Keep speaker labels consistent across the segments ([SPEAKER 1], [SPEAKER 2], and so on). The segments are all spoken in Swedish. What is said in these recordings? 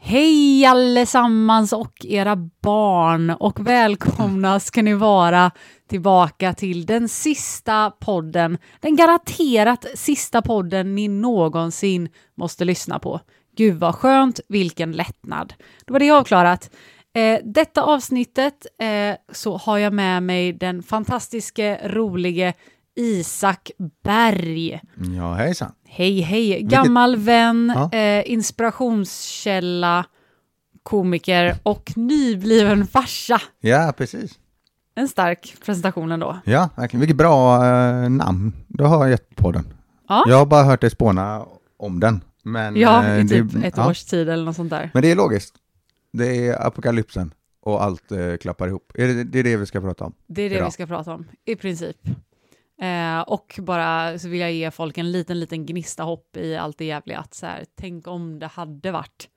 [SPEAKER 1] Hej allesammans och era barn och välkomna ska ni vara tillbaka till den sista podden, den garanterat sista podden ni någonsin måste lyssna på. Gud vad skönt, vilken lättnad. Då var det avklarat. Eh, detta avsnittet eh, så har jag med mig den fantastiske, rolige Isak Berg.
[SPEAKER 2] Ja, hejsan.
[SPEAKER 1] Hej, hej. Gammal vän,
[SPEAKER 2] Ja.
[SPEAKER 1] eh, inspirationskälla, komiker och nybliven farsa.
[SPEAKER 2] Ja, precis.
[SPEAKER 1] En stark presentation ändå.
[SPEAKER 2] Ja, verkligen. Vilket bra eh, namn du har gett podden.
[SPEAKER 1] Ja.
[SPEAKER 2] Jag har bara hört dig spåna om den. Men,
[SPEAKER 1] Ja,
[SPEAKER 2] eh,
[SPEAKER 1] i
[SPEAKER 2] det-
[SPEAKER 1] typ ett
[SPEAKER 2] ja.
[SPEAKER 1] års tid eller något sånt där.
[SPEAKER 2] Men det är logiskt. Det är apokalypsen och allt eh, klappar ihop. Är det, det är det vi ska prata om.
[SPEAKER 1] Det är det
[SPEAKER 2] Bra.
[SPEAKER 1] vi ska prata om, i princip. Eh, och bara så vill jag ge folk en liten, liten gnista hopp i allt det jävliga. Att så här, tänk om det hade varit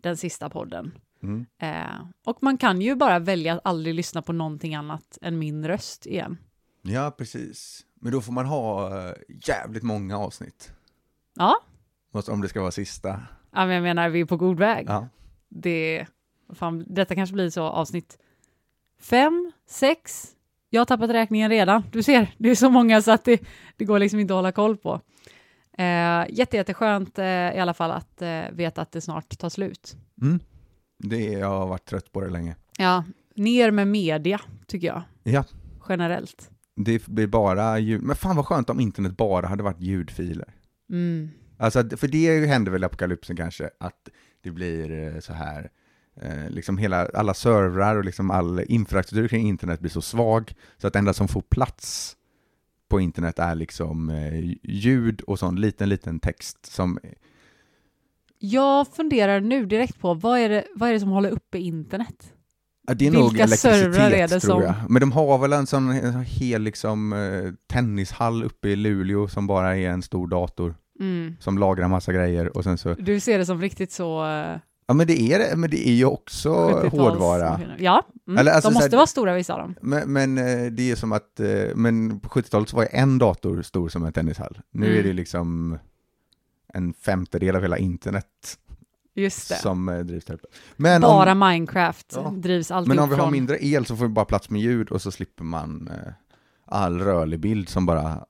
[SPEAKER 1] den sista podden.
[SPEAKER 2] Mm.
[SPEAKER 1] Eh, och man kan ju bara välja att aldrig lyssna på någonting annat än min röst igen.
[SPEAKER 2] Ja, precis. Men då får man ha eh, jävligt många avsnitt.
[SPEAKER 1] Ja,
[SPEAKER 2] Måste- Om det ska vara sista.
[SPEAKER 1] Ja, men jag menar, vi är på god väg.
[SPEAKER 2] Ja.
[SPEAKER 1] Det, fan, detta kanske blir så avsnitt fem, sex. Jag har tappat räkningen redan. Du ser, det är så många så att det, det går liksom inte att hålla koll på. Eh, jätte, jätteskönt eh, i alla fall att eh, veta att det snart tar slut.
[SPEAKER 2] Mm. Det, jag har varit trött på det länge.
[SPEAKER 1] Ja, ner med media, tycker jag,
[SPEAKER 2] Ja,
[SPEAKER 1] generellt.
[SPEAKER 2] det blir bara ljud. Men fan vad skönt om internet bara hade varit ljudfiler.
[SPEAKER 1] Mm.
[SPEAKER 2] Alltså, att- för det händer väl i apokalypsen kanske, att det blir eh, så här, eh, liksom hela, alla servrar och liksom all infrastruktur kring internet blir så svag, så att det enda som får plats på internet är liksom eh, ljud och sån liten, liten text som,
[SPEAKER 1] Jag funderar nu direkt på vad är det, vad är det som håller uppe internet?
[SPEAKER 2] ja, det är
[SPEAKER 1] Vilka
[SPEAKER 2] nog elektricitet
[SPEAKER 1] servrar är det
[SPEAKER 2] tror
[SPEAKER 1] som-
[SPEAKER 2] jag. Men de har väl en sån, en sån hel liksom eh, tennishall uppe i Luleå som bara är en stor dator
[SPEAKER 1] Mm.
[SPEAKER 2] som lagrar massa grejer och sen så,
[SPEAKER 1] Du ser det som riktigt så... eh,
[SPEAKER 2] ja men det är det, men det är ju också
[SPEAKER 1] 70-tals
[SPEAKER 2] hårdvara.
[SPEAKER 1] maskiner. Ja, mm.
[SPEAKER 2] Eller, alltså,
[SPEAKER 1] de
[SPEAKER 2] så här-
[SPEAKER 1] måste vara stora vissa av dem.
[SPEAKER 2] Men, men eh, det är som att, eh, men på 70-talet så var ju en dator stor som en tennishall. Nu
[SPEAKER 1] Mm.
[SPEAKER 2] är det liksom en femtedel av hela internet
[SPEAKER 1] Just det.
[SPEAKER 2] som eh, drivs där uppe. Men,
[SPEAKER 1] bara
[SPEAKER 2] om,
[SPEAKER 1] Minecraft
[SPEAKER 2] Ja.
[SPEAKER 1] drivs alltid
[SPEAKER 2] men om vi har
[SPEAKER 1] från-
[SPEAKER 2] mindre el så får vi bara plats med ljud och så slipper man eh, all rörlig bild som bara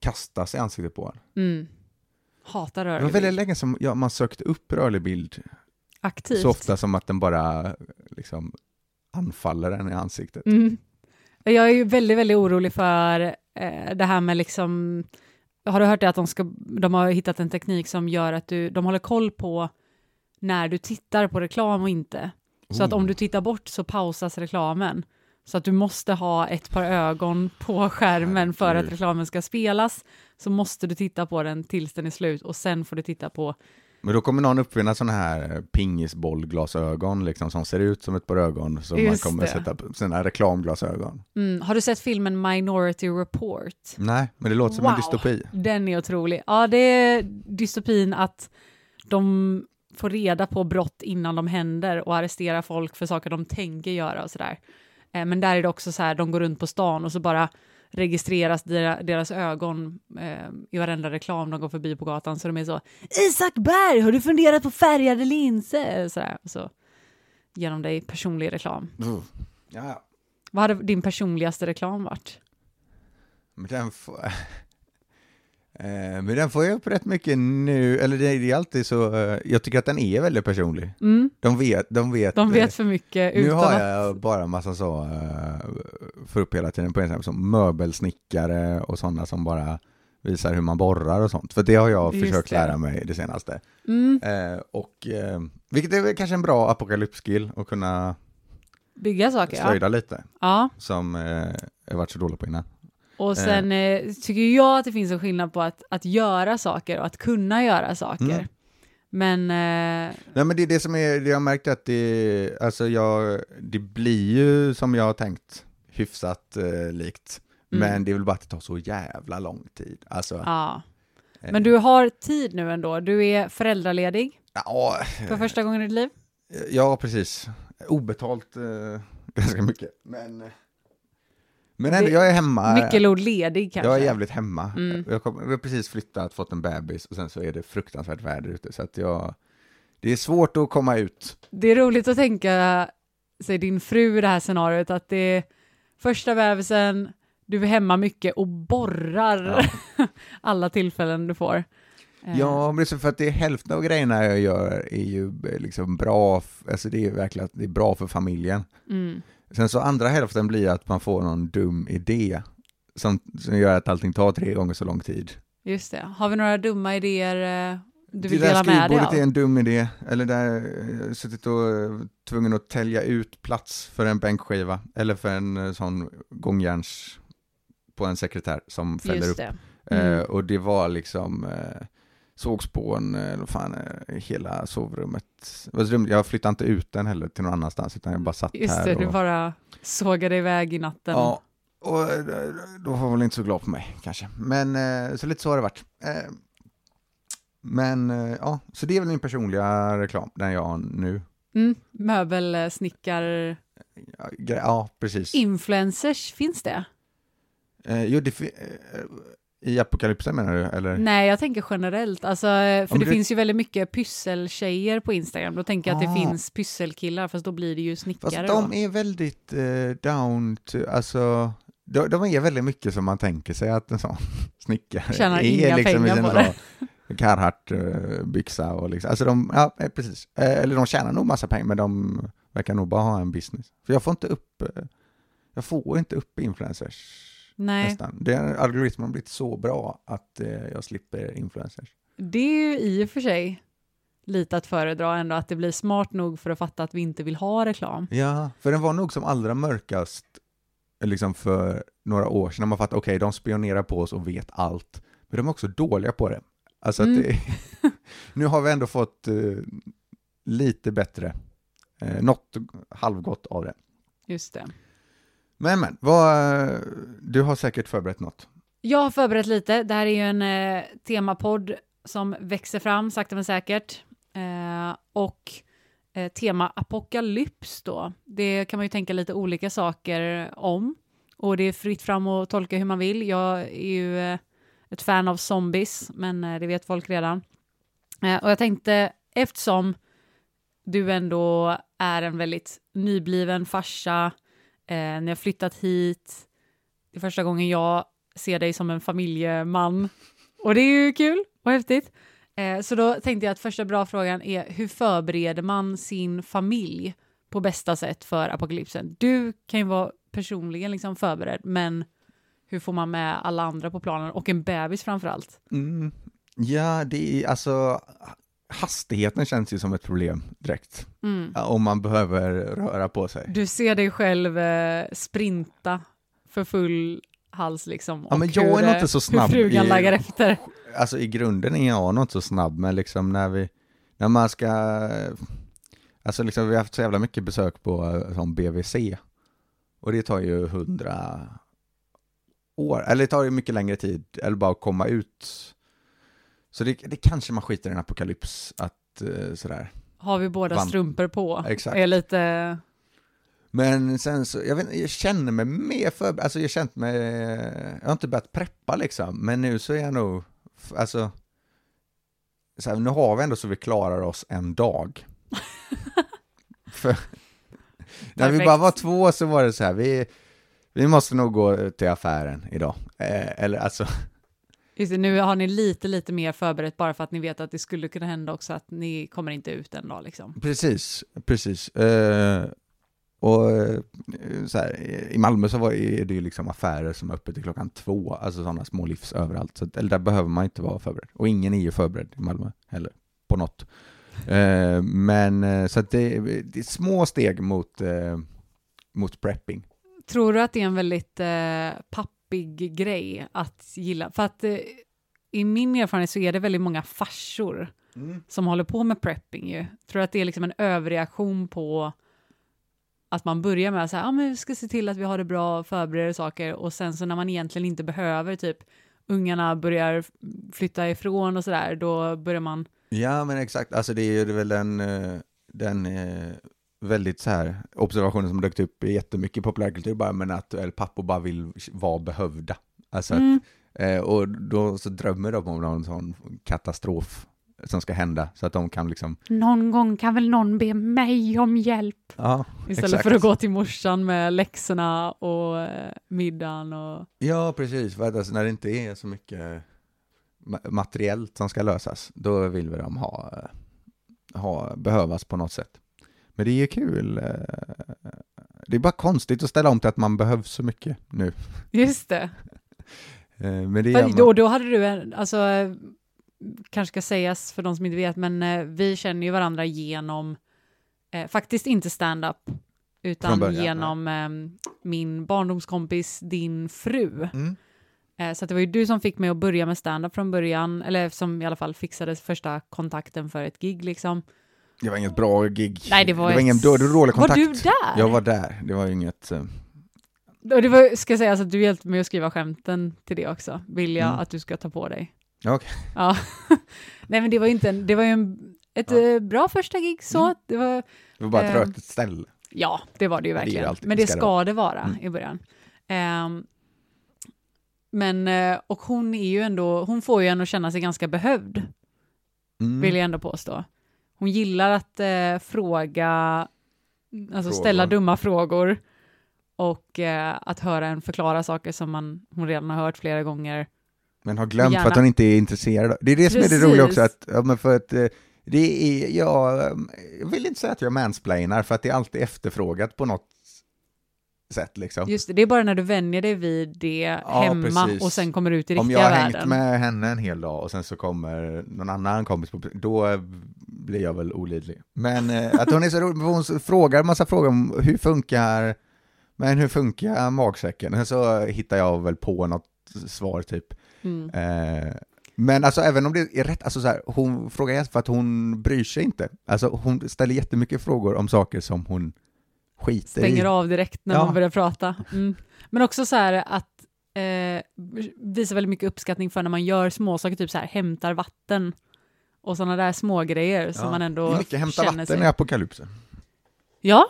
[SPEAKER 2] kastas i ansiktet på en.
[SPEAKER 1] Mm. Hatar
[SPEAKER 2] Det var
[SPEAKER 1] rörlig
[SPEAKER 2] väldigt
[SPEAKER 1] bild.
[SPEAKER 2] länge som ja, man sökte upp rörlig bild
[SPEAKER 1] Aktivt.
[SPEAKER 2] så ofta som att den bara eh, liksom anfaller en i ansiktet.
[SPEAKER 1] Mm. Jag är ju väldigt, väldigt orolig för eh, det här med liksom... Har du hört det att de, ska, de har hittat en teknik som gör att du, de håller koll på när du tittar på reklam och inte. Så att om du tittar bort så pausas reklamen. Så att du måste ha ett par ögon på skärmen för att
[SPEAKER 2] Herregud.
[SPEAKER 1] reklamen ska spelas. Så måste du titta på den tills den är slut och sen får du titta på
[SPEAKER 2] Men då kommer någon uppfinna sådana här eh, pingisbollglasögon liksom, som ser ut som ett par ögon som man
[SPEAKER 1] Just
[SPEAKER 2] kommer
[SPEAKER 1] det.
[SPEAKER 2] sätta upp sina reklamglasögon.
[SPEAKER 1] Mm, har du sett filmen Minority Report?
[SPEAKER 2] Nej, men det låter som en dystopi.
[SPEAKER 1] Den är otrolig. Ja, det är dystopin att de får reda på brott innan de händer och arresterar folk för saker de tänker göra och sådär. Eh, Men där är det också så här, de går runt på stan och så bara registreras dera- deras ögon eh, i varenda reklam de går förbi på gatan. Så de är så, Isak Berg, har du funderat på färgade linser? Sådär. Och så ger de dig personlig reklam.
[SPEAKER 2] Uff. Ja,
[SPEAKER 1] Vad hade din personligaste reklam varit?
[SPEAKER 2] men den får... Eh, Men den får jag upp rätt mycket nu, eller det det är alltid så, eh, jag tycker att den är väldigt personlig.
[SPEAKER 1] Mm.
[SPEAKER 2] De vet, de vet.
[SPEAKER 1] De vet
[SPEAKER 2] eh,
[SPEAKER 1] för mycket
[SPEAKER 2] nu
[SPEAKER 1] utan
[SPEAKER 2] har
[SPEAKER 1] att...
[SPEAKER 2] jag bara massa så, eh, får upp hela tiden på Instagram, som möbelsnickare och sådana som bara visar hur man borrar och sånt. För det har jag
[SPEAKER 1] Just
[SPEAKER 2] försökt
[SPEAKER 1] det.
[SPEAKER 2] lära mig det senaste.
[SPEAKER 1] Mm,
[SPEAKER 2] Eh, och, eh, vilket är väl kanske en bra apokalypskill att kunna
[SPEAKER 1] bygga saker, ja.
[SPEAKER 2] slöjda lite,
[SPEAKER 1] ja.
[SPEAKER 2] som eh, jag varit så dålig på innan.
[SPEAKER 1] Och sen eh, tycker jag att det finns en skillnad på att, att göra saker och att kunna göra saker.
[SPEAKER 2] Mm.
[SPEAKER 1] Men eh,
[SPEAKER 2] Nej men det är det som är, det jag har märkt att det, alltså jag, det blir ju som jag har tänkt, hyfsat eh, likt.
[SPEAKER 1] Mm.
[SPEAKER 2] Men det är väl bara att det tar så jävla lång tid. Alltså,
[SPEAKER 1] ja.
[SPEAKER 2] eh,
[SPEAKER 1] Men du har tid nu ändå. Du är föräldraledig
[SPEAKER 2] ja,
[SPEAKER 1] för första gången i ditt liv.
[SPEAKER 2] Eh. ja, precis. Obetalt eh, ganska mycket. Men, eh, men ändå,
[SPEAKER 1] Det-
[SPEAKER 2] jag är hemma.
[SPEAKER 1] Nyckelord ledig kanske.
[SPEAKER 2] Jag är jävligt hemma.
[SPEAKER 1] Mm.
[SPEAKER 2] Jag, kom, jag har precis flyttat, fått en bebis och sen så är det fruktansvärt väder ute så att jag Det är svårt att komma ut.
[SPEAKER 1] Det är roligt att tänka sig din fru i det här scenariot, att det är första bebisen, du är hemma mycket och borrar alla tillfällen du får. Eh,
[SPEAKER 2] Ja, men det är så för att det är hälften av grejerna jag gör är ju eh, liksom bra, f- alltså det är verkligen att det är bra för familjen.
[SPEAKER 1] Mm.
[SPEAKER 2] Sen så andra hälften blir att man får någon dum idé som, som gör att allting tar tre gånger så lång tid.
[SPEAKER 1] Just det. Har vi några dumma idéer eh, du vill
[SPEAKER 2] det
[SPEAKER 1] dela
[SPEAKER 2] där
[SPEAKER 1] med dig
[SPEAKER 2] skrivbordet är
[SPEAKER 1] av?
[SPEAKER 2] en dum idé, eller där eh, jag har suttit och eh, tvungen att tälja ut plats för en bänkskiva, eller för en eh, sån gångjärns på en sekretär som fäller upp.
[SPEAKER 1] Just det. Mm.
[SPEAKER 2] Eh, och det var liksom eh, sågspån, eh, vad fan, eh, hela sovrummet. Det var så dumt, Jag flyttade inte ut den heller till någon annanstans, utan jag bara satt
[SPEAKER 1] Just
[SPEAKER 2] här.
[SPEAKER 1] det,
[SPEAKER 2] och,
[SPEAKER 1] du bara sågade iväg i natten.
[SPEAKER 2] Ja, och eh, då var hon väl inte så glad på mig kanske. Men eh, så lite så har det varit. Eh, Men eh, ja, så det är väl min personliga reklam, den jag har nu.
[SPEAKER 1] Mm. Möbelsnickar...
[SPEAKER 2] Ja, gre- Ja, precis.
[SPEAKER 1] Influencers, finns det?
[SPEAKER 2] Eh, Jo, det, fi- eh, I apokalypsen menar du, eller?
[SPEAKER 1] Nej, jag tänker generellt. Alltså, eh, för
[SPEAKER 2] men
[SPEAKER 1] det
[SPEAKER 2] det-
[SPEAKER 1] finns ju väldigt mycket pysseltjejer på Instagram. Då tänker jag att
[SPEAKER 2] Ah.
[SPEAKER 1] det finns pysselkillar, fast då blir det ju
[SPEAKER 2] Fast
[SPEAKER 1] snickare.
[SPEAKER 2] de
[SPEAKER 1] då.
[SPEAKER 2] är väldigt eh, down to, alltså, de, de är väldigt mycket som man tänker sig att en sån snickare
[SPEAKER 1] Tjänar
[SPEAKER 2] är. liksom
[SPEAKER 1] inga pengar på det.
[SPEAKER 2] Carhartt-byxa och liksom, alltså de, ja eh, precis, eh, eller de tjänar nog massa pengar men de verkar nog bara ha en business. För jag får inte upp, eh, jag får inte upp influencers
[SPEAKER 1] Nej,
[SPEAKER 2] nästan. Den algoritmen har blivit så bra att eh, jag slipper influencers.
[SPEAKER 1] det är ju i och för sig lite att föredra ändå, att det blir smart nog för att fatta att vi inte vill ha reklam.
[SPEAKER 2] Ja, för den var nog som allra mörkast liksom för några år sedan. när Man fattade, okej, de spionerar på oss och vet allt. Men de är också dåliga på det. Alltså att
[SPEAKER 1] Mm.
[SPEAKER 2] det, nu har vi ändå fått eh, lite bättre, eh, något halvgott av det.
[SPEAKER 1] Just det.
[SPEAKER 2] Men men, vad, eh, du har säkert förberett något.
[SPEAKER 1] Jag har förberett lite. Det här är ju en eh, temapodd som växer fram sakta men säkert. Eh, och eh, tema apokalyps då. Det kan man ju tänka lite olika saker om. Och det är fritt fram att tolka hur man vill. Jag är ju eh, ett fan av zombies, men eh, det vet folk redan. Eh, och jag tänkte, eftersom du ändå är en väldigt nybliven farsa, eh, ni har flyttat hit, det är första gången jag ser dig som en familjeman. Och det är ju kul och häftigt. Eh, så då tänkte jag att första bra frågan är hur förbereder man sin familj på bästa sätt för apokalypsen? Du kan ju vara personligen liksom förberedd, men hur får man med alla andra på planen och en bebis framför allt?
[SPEAKER 2] Mm. Ja, det är alltså, hastigheten känns ju som ett problem direkt. Ja, Om man behöver röra på sig.
[SPEAKER 1] Mm. Du ser dig själv eh, sprinta för full hals liksom.
[SPEAKER 2] Ja,
[SPEAKER 1] och
[SPEAKER 2] men jag är nog
[SPEAKER 1] eh,
[SPEAKER 2] inte så snabb
[SPEAKER 1] Hur frugan
[SPEAKER 2] i-
[SPEAKER 1] laggar efter.
[SPEAKER 2] alltså i grunden är jag nog inte så snabb, men liksom när vi, när man ska, alltså liksom vi har haft så jävla mycket besök på eh, sån BVC, och det tar ju hundra år, eller det tar ju mycket längre tid, eller bara att komma ut. Så det, det kanske man skiter i en apokalyps, att eh, sådär.
[SPEAKER 1] Har vi båda
[SPEAKER 2] Vann.
[SPEAKER 1] strumpor på?
[SPEAKER 2] Exakt.
[SPEAKER 1] Är lite...
[SPEAKER 2] Men sen så, jag, vet, inte, jag känner mig mer förberedd, alltså jag har känt mig, jag har inte börjat preppa liksom, men nu så är jag nog, f- alltså, så här, nu har vi ändå så vi klarar oss en dag. För, när vi
[SPEAKER 1] Perfekt.
[SPEAKER 2] bara var två så var det så här, vi, vi måste nog gå ut till affären idag, eh, eller alltså,
[SPEAKER 1] Just det, nu har ni lite, lite mer förberett bara för att ni vet att det skulle kunna hända också att ni kommer inte ut en dag liksom.
[SPEAKER 2] Precis, precis. Eh, och eh, så här, i Malmö så var, är det ju liksom affärer som är öppet till klockan två, alltså sådana små livs överallt. Så att, eller där behöver man inte vara förberedd. Och ingen är ju förberedd i Malmö heller, på något. Eh, men eh, så att det, det är små steg mot, eh, mot prepping.
[SPEAKER 1] Tror du att det är en väldigt eh, pappig grej att gilla? För att eh, i min erfarenhet så är det väldigt många farsor som håller på med prepping ju. Tror du att det är liksom en överreaktion på att man börjar med så här, ja ah, men vi ska se till att vi har det bra, förbereder saker och sen så när man egentligen inte behöver, typ ungarna börjar flytta ifrån och så där, då börjar man
[SPEAKER 2] Ja, men exakt. Alltså det är ju väl den, eh, den eh, väldigt så här observationen som dök upp i jättemycket populärkultur bara, men att eller, pappor bara vill vara
[SPEAKER 1] mm,
[SPEAKER 2] behövda. Alltså att, eh, och då så drömmer de om någon sån katastrof som ska hända så att de kan liksom...
[SPEAKER 1] Någon gång kan väl någon be mig om hjälp?
[SPEAKER 2] Ja,
[SPEAKER 1] Istället
[SPEAKER 2] Exakt.
[SPEAKER 1] för att gå till morsan med läxorna och eh, middagen och...
[SPEAKER 2] ja precis. För att alltså, när det inte är så mycket ma- materiellt som ska lösas, då vill vi de ha, eh, ha, behövas på något sätt. Men det är ju kul. eh, Det är bara konstigt att ställa om till att man behövs så mycket nu.
[SPEAKER 1] Just det.
[SPEAKER 2] Eh, Men det gör
[SPEAKER 1] För
[SPEAKER 2] man-
[SPEAKER 1] då, då hade du en, alltså, eh, kanske ska sägas för de som inte vet, men eh, vi känner ju varandra genom, eh, faktiskt inte stand-up, utan
[SPEAKER 2] Från början,
[SPEAKER 1] genom eh, min barndomskompis, din fru.
[SPEAKER 2] Mm.
[SPEAKER 1] Eh, så att det var ju du som fick mig att börja med stand-up från början, eller som i alla fall fixade första kontakten för ett gig liksom.
[SPEAKER 2] Det var inget bra gig.
[SPEAKER 1] Nej, det var ett-
[SPEAKER 2] ingen då, det var dålig kontakt.
[SPEAKER 1] Var du där?
[SPEAKER 2] Jag var där. Det var ju inget... eh,
[SPEAKER 1] Och det var, ska sägas att du hjälpte mig att skriva skämten till det också, vill jag
[SPEAKER 2] Mm.
[SPEAKER 1] att du ska ta på dig.
[SPEAKER 2] Ja, okej.
[SPEAKER 1] Ja. Nej men det var ju inte en, det var ju en, ett
[SPEAKER 2] Ja. Mm.
[SPEAKER 1] eh, bra första gig så, det var,
[SPEAKER 2] Det var bara ett
[SPEAKER 1] Ehm.
[SPEAKER 2] rötigt ställe.
[SPEAKER 1] ja det var det ju
[SPEAKER 2] det är
[SPEAKER 1] verkligen.
[SPEAKER 2] det alltid,
[SPEAKER 1] men det
[SPEAKER 2] ska det
[SPEAKER 1] ska det vara
[SPEAKER 2] Mm.
[SPEAKER 1] i början. Ehm, men, eh, och hon är ju ändå, hon får ju en att känna sig ganska behövd,
[SPEAKER 2] Mm.
[SPEAKER 1] vill jag ändå påstå. Hon gillar att eh, fråga, alltså ställa
[SPEAKER 2] Frågor.
[SPEAKER 1] dumma frågor och eh, att höra en förklara saker som man, hon redan har hört flera gånger.
[SPEAKER 2] Men har glömt för
[SPEAKER 1] Gärna.
[SPEAKER 2] att hon inte är intresserad. Det är det som är det
[SPEAKER 1] Precis.
[SPEAKER 2] roliga också, att, ja, men för att eh, det är, jag, eh, jag vill inte säga att jag mansplainar, för att det är alltid efterfrågat på något sätt liksom.
[SPEAKER 1] Just det, det är bara när du vänjer dig vid det
[SPEAKER 2] Ja,
[SPEAKER 1] hemma
[SPEAKER 2] precis.
[SPEAKER 1] och sen kommer ut i
[SPEAKER 2] Om
[SPEAKER 1] riktiga
[SPEAKER 2] jag har hängt
[SPEAKER 1] världen.
[SPEAKER 2] med henne en hel dag och sen så kommer någon annan kompis, på, då eh, blir jag väl olidlig. Men eh, att hon är så rolig, hon så frågar en massa frågor om hur funkar, men hur funkar magsäcken? Och sen så hittar jag väl på något svar typ.
[SPEAKER 1] Mm.
[SPEAKER 2] Eh, men alltså även om det är rätt, alltså så här, hon frågar gäst för att hon bryr sig inte. Alltså hon ställer jättemycket frågor om saker som hon skiter
[SPEAKER 1] Stänger
[SPEAKER 2] i.
[SPEAKER 1] av direkt när
[SPEAKER 2] Ja.
[SPEAKER 1] man börjar prata. Mm. Men också så här att eh, visa väldigt mycket uppskattning för när man gör småsaker, typ så här hämtar vatten och sådana där små grejer som
[SPEAKER 2] Ja.
[SPEAKER 1] man
[SPEAKER 2] Det är
[SPEAKER 1] ändå
[SPEAKER 2] mycket hämta
[SPEAKER 1] känner
[SPEAKER 2] vatten
[SPEAKER 1] sig.
[SPEAKER 2] i apokalypsen.
[SPEAKER 1] Ja,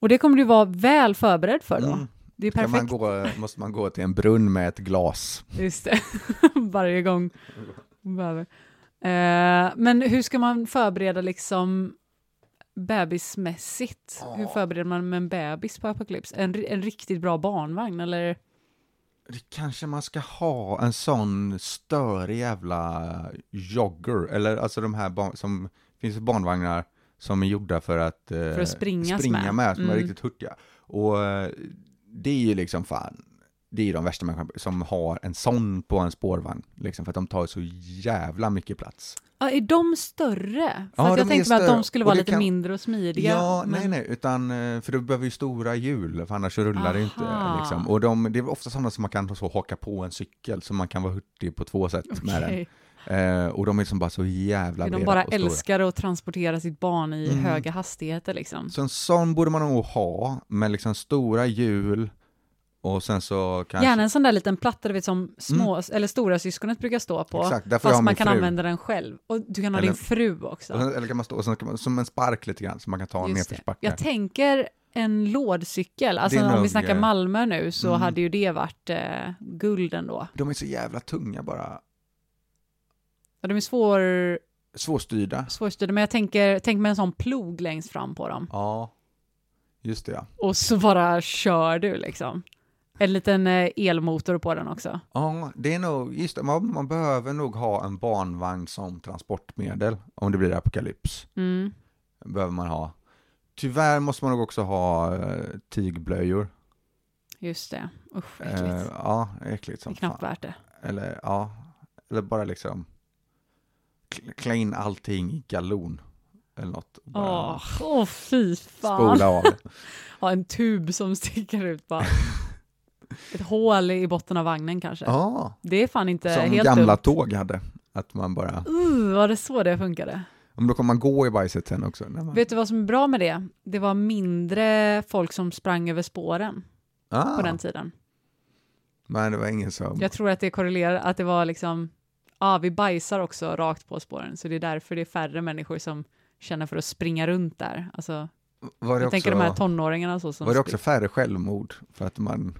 [SPEAKER 1] och det kommer du vara väl förberedd för då.
[SPEAKER 2] Mm.
[SPEAKER 1] Det är
[SPEAKER 2] Ska man
[SPEAKER 1] perfekt.
[SPEAKER 2] gå, måste man gå till en brunn med ett glas.
[SPEAKER 1] Just det. Varje gång. man behöver. Eh, men hur ska man förbereda liksom bebismässigt? Hur förbereder man med en bebis på Apocalypse? En, ri- en riktigt bra barnvagn eller?
[SPEAKER 2] Det kanske man ska ha en sån störig jävla jogger, eller alltså de här barn, som finns barnvagnar som är gjorda för att, eh,
[SPEAKER 1] att springas med.
[SPEAKER 2] som är
[SPEAKER 1] Mm.
[SPEAKER 2] riktigt hurtiga. Och eh, det är ju liksom fan, det är ju de värsta människorna som har en sån på en spårvagn, liksom för att de tar så jävla mycket plats.
[SPEAKER 1] Ja, är de större? För
[SPEAKER 2] Ja,
[SPEAKER 1] att
[SPEAKER 2] de
[SPEAKER 1] jag
[SPEAKER 2] är
[SPEAKER 1] tänkte mig att
[SPEAKER 2] större.
[SPEAKER 1] de skulle
[SPEAKER 2] Och
[SPEAKER 1] vara
[SPEAKER 2] du
[SPEAKER 1] lite
[SPEAKER 2] kan-
[SPEAKER 1] mindre och smidiga.
[SPEAKER 2] Ja,
[SPEAKER 1] men-
[SPEAKER 2] nej, nej, utan, eh, för du behöver ju stora hjul, för annars så rullar det ju inte.
[SPEAKER 1] Aha.
[SPEAKER 2] Liksom. Och de, det är ofta sådana som man kan så haka på en cykel, så man kan vara hurtig på två sätt med den.
[SPEAKER 1] Okej.
[SPEAKER 2] Eh, och de är liksom bara så jävla breda
[SPEAKER 1] De bara
[SPEAKER 2] och stora.
[SPEAKER 1] älskar att transportera sitt barn i
[SPEAKER 2] Mm.
[SPEAKER 1] höga hastigheter liksom.
[SPEAKER 2] Så en sån borde man nog ha, med liksom stora hjul och sen så kanske... Mm.
[SPEAKER 1] Gärna en sån där liten platta, du vet som små, eller stora syskonet brukar stå på.
[SPEAKER 2] Exakt, där får jag ha
[SPEAKER 1] fast
[SPEAKER 2] min
[SPEAKER 1] man kan
[SPEAKER 2] fru.
[SPEAKER 1] använda den själv. Och du kan ha
[SPEAKER 2] Eller-
[SPEAKER 1] din fru också.
[SPEAKER 2] Och sen- Eller kan man stå och sen kan man, som en spark lite grann, så man kan ta en
[SPEAKER 1] Just det.
[SPEAKER 2] nedförsbacke.
[SPEAKER 1] Jag tänker en lådcykel, alltså
[SPEAKER 2] Det är
[SPEAKER 1] om
[SPEAKER 2] nog,
[SPEAKER 1] vi snackar
[SPEAKER 2] eh,
[SPEAKER 1] Malmö nu så
[SPEAKER 2] mm.
[SPEAKER 1] hade ju det varit eh, guld ändå.
[SPEAKER 2] De är så jävla tunga bara,
[SPEAKER 1] Ja, de är svår,
[SPEAKER 2] svårstyrda.
[SPEAKER 1] svårstyrda, men jag tänker, tänk med en sån plog längst fram på dem.
[SPEAKER 2] Ja, just det ja.
[SPEAKER 1] Och så bara kör du liksom. En liten eh, elmotor på den också.
[SPEAKER 2] Ja, det är nog, just det, man, man behöver nog ha en barnvagn som transportmedel om det blir apokalyps.
[SPEAKER 1] Mm.
[SPEAKER 2] Behöver man ha. Tyvärr måste man nog också ha eh, tygblöjor.
[SPEAKER 1] Just det, usch äckligt.
[SPEAKER 2] Eh, ja, äckligt
[SPEAKER 1] det är
[SPEAKER 2] som fan.
[SPEAKER 1] knappt värt det.
[SPEAKER 2] Eller ja, eller bara liksom kl- klä in allting i galon eller något. och Bara
[SPEAKER 1] Åh, åh, fy fan.
[SPEAKER 2] spola av.
[SPEAKER 1] Ja, en tub som sticker ut bara. Ett hål i botten av vagnen kanske.
[SPEAKER 2] Ja,
[SPEAKER 1] Det är fan inte
[SPEAKER 2] som
[SPEAKER 1] helt
[SPEAKER 2] gamla
[SPEAKER 1] dumt.
[SPEAKER 2] tåg hade. Att man bara,
[SPEAKER 1] Uh, var det så det funkade?
[SPEAKER 2] men då kommer man gå i bajset sen också. När man,
[SPEAKER 1] Vet du vad som är bra med det? Det var mindre folk som sprang över spåren
[SPEAKER 2] ah,
[SPEAKER 1] på den tiden.
[SPEAKER 2] Men det var ingen som,
[SPEAKER 1] Jag tror att det korrelerar, att det var liksom, ja vi bajsar också rakt på spåren, så det är därför det är färre människor som känner för att springa runt där. Alltså,
[SPEAKER 2] var
[SPEAKER 1] jag
[SPEAKER 2] det, också,
[SPEAKER 1] tänker de här tonåringarna så som...
[SPEAKER 2] var det också färre självmord? För att man,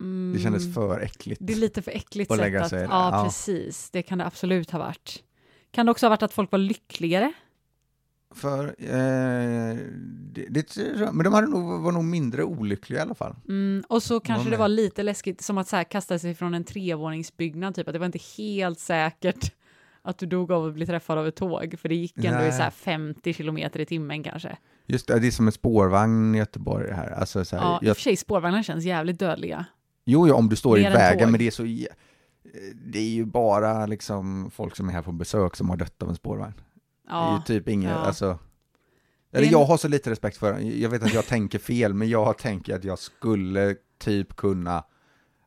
[SPEAKER 1] Mm,
[SPEAKER 2] det kändes för äckligt.
[SPEAKER 1] Det är lite för äckligt
[SPEAKER 2] Att
[SPEAKER 1] sätt
[SPEAKER 2] lägga
[SPEAKER 1] att,
[SPEAKER 2] sig i det,
[SPEAKER 1] ja
[SPEAKER 2] ja.
[SPEAKER 1] precis, det kan det absolut ha varit. Kan det också ha varit att folk var lyckligare?
[SPEAKER 2] För, eh, det, det, tror jag- men de hade nog, var nog mindre olyckliga i alla fall.
[SPEAKER 1] Mm, och så kanske
[SPEAKER 2] Var
[SPEAKER 1] det
[SPEAKER 2] med.
[SPEAKER 1] var lite läskigt, som att så här, kasta sig från en trevåningsbyggnad, typ att det var inte helt säkert att du dog av att bli träffad av ett tåg, för det gick ändå i
[SPEAKER 2] Nej.
[SPEAKER 1] så här 50 kilometer i timmen kanske.
[SPEAKER 2] Just det, det är som en spårvagn i Göteborg här. Alltså, så här
[SPEAKER 1] Ja, i
[SPEAKER 2] jag-
[SPEAKER 1] och för sig spårvagnar känns jävligt dödliga.
[SPEAKER 2] Jo, ja, om du står i
[SPEAKER 1] Mer än tåg.
[SPEAKER 2] vägen, men det är så... jä- Det är ju bara liksom folk som är här på besök som har dött av en spårvagn. Det är
[SPEAKER 1] Ja,
[SPEAKER 2] ju typ inget,
[SPEAKER 1] ja.
[SPEAKER 2] alltså...
[SPEAKER 1] är
[SPEAKER 2] Eller
[SPEAKER 1] en-
[SPEAKER 2] jag har så lite respekt för den. Jag vet att jag tänker fel, men jag tänker att jag skulle typ kunna...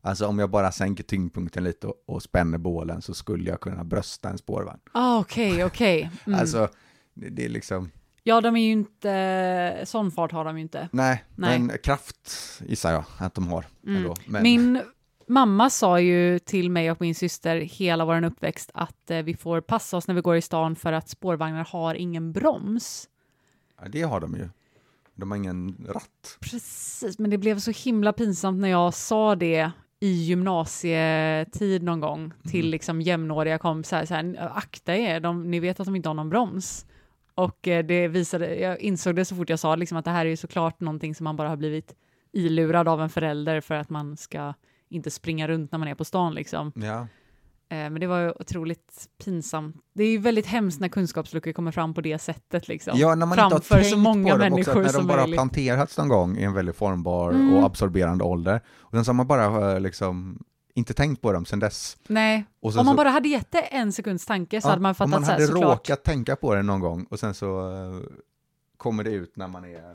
[SPEAKER 2] Alltså om jag bara sänker tyngdpunkten lite och, och spänner bålen så skulle jag kunna brösta en spårvagn.
[SPEAKER 1] Ah, okej, okej. Mm.
[SPEAKER 2] Alltså, det, det är liksom...
[SPEAKER 1] Ja, de är ju inte, sån fart har de ju inte.
[SPEAKER 2] Nej,
[SPEAKER 1] Nej. Mm.
[SPEAKER 2] men kraft gissar jag att de har. Ändå. Men,
[SPEAKER 1] Min mamma sa ju till mig och min syster hela vår uppväxt att eh, vi får passa oss när vi går i stan för att spårvagnar har ingen broms.
[SPEAKER 2] ja, det har de ju. De har ingen ratt.
[SPEAKER 1] Precis, men det blev så himla pinsamt när jag sa det i gymnasietid någon gång till liksom jämnåriga kompisar. Så här, akta er, de, ni vet att de inte har någon broms. Och eh, det visade, jag insåg det så fort jag sa liksom, att det här är ju såklart någonting som man bara har blivit ilurad av en förälder för att man ska inte springa runt när man är på stan liksom.
[SPEAKER 2] Ja.
[SPEAKER 1] Eh, Men det var ju otroligt pinsamt. Det är ju väldigt hemskt när kunskapsluckor kommer fram på det sättet. Liksom.
[SPEAKER 2] Ja, när man inte har
[SPEAKER 1] Framför så
[SPEAKER 2] tänkt
[SPEAKER 1] många
[SPEAKER 2] på dem också,
[SPEAKER 1] människor
[SPEAKER 2] att när de
[SPEAKER 1] som
[SPEAKER 2] bara har
[SPEAKER 1] möjligt.
[SPEAKER 2] planterats någon gång i en väldigt formbar
[SPEAKER 1] Mm.
[SPEAKER 2] och absorberande ålder. Och sen så har man bara eh, liksom inte tänkt på dem sen dess.
[SPEAKER 1] Nej,
[SPEAKER 2] Och sen
[SPEAKER 1] om man
[SPEAKER 2] så,
[SPEAKER 1] bara hade gett det en sekunds tanke så
[SPEAKER 2] ja,
[SPEAKER 1] hade man fattat
[SPEAKER 2] Om man
[SPEAKER 1] så här,
[SPEAKER 2] hade
[SPEAKER 1] såklart.
[SPEAKER 2] råkat tänka på det någon gång och sen så eh, kommer det ut när man är...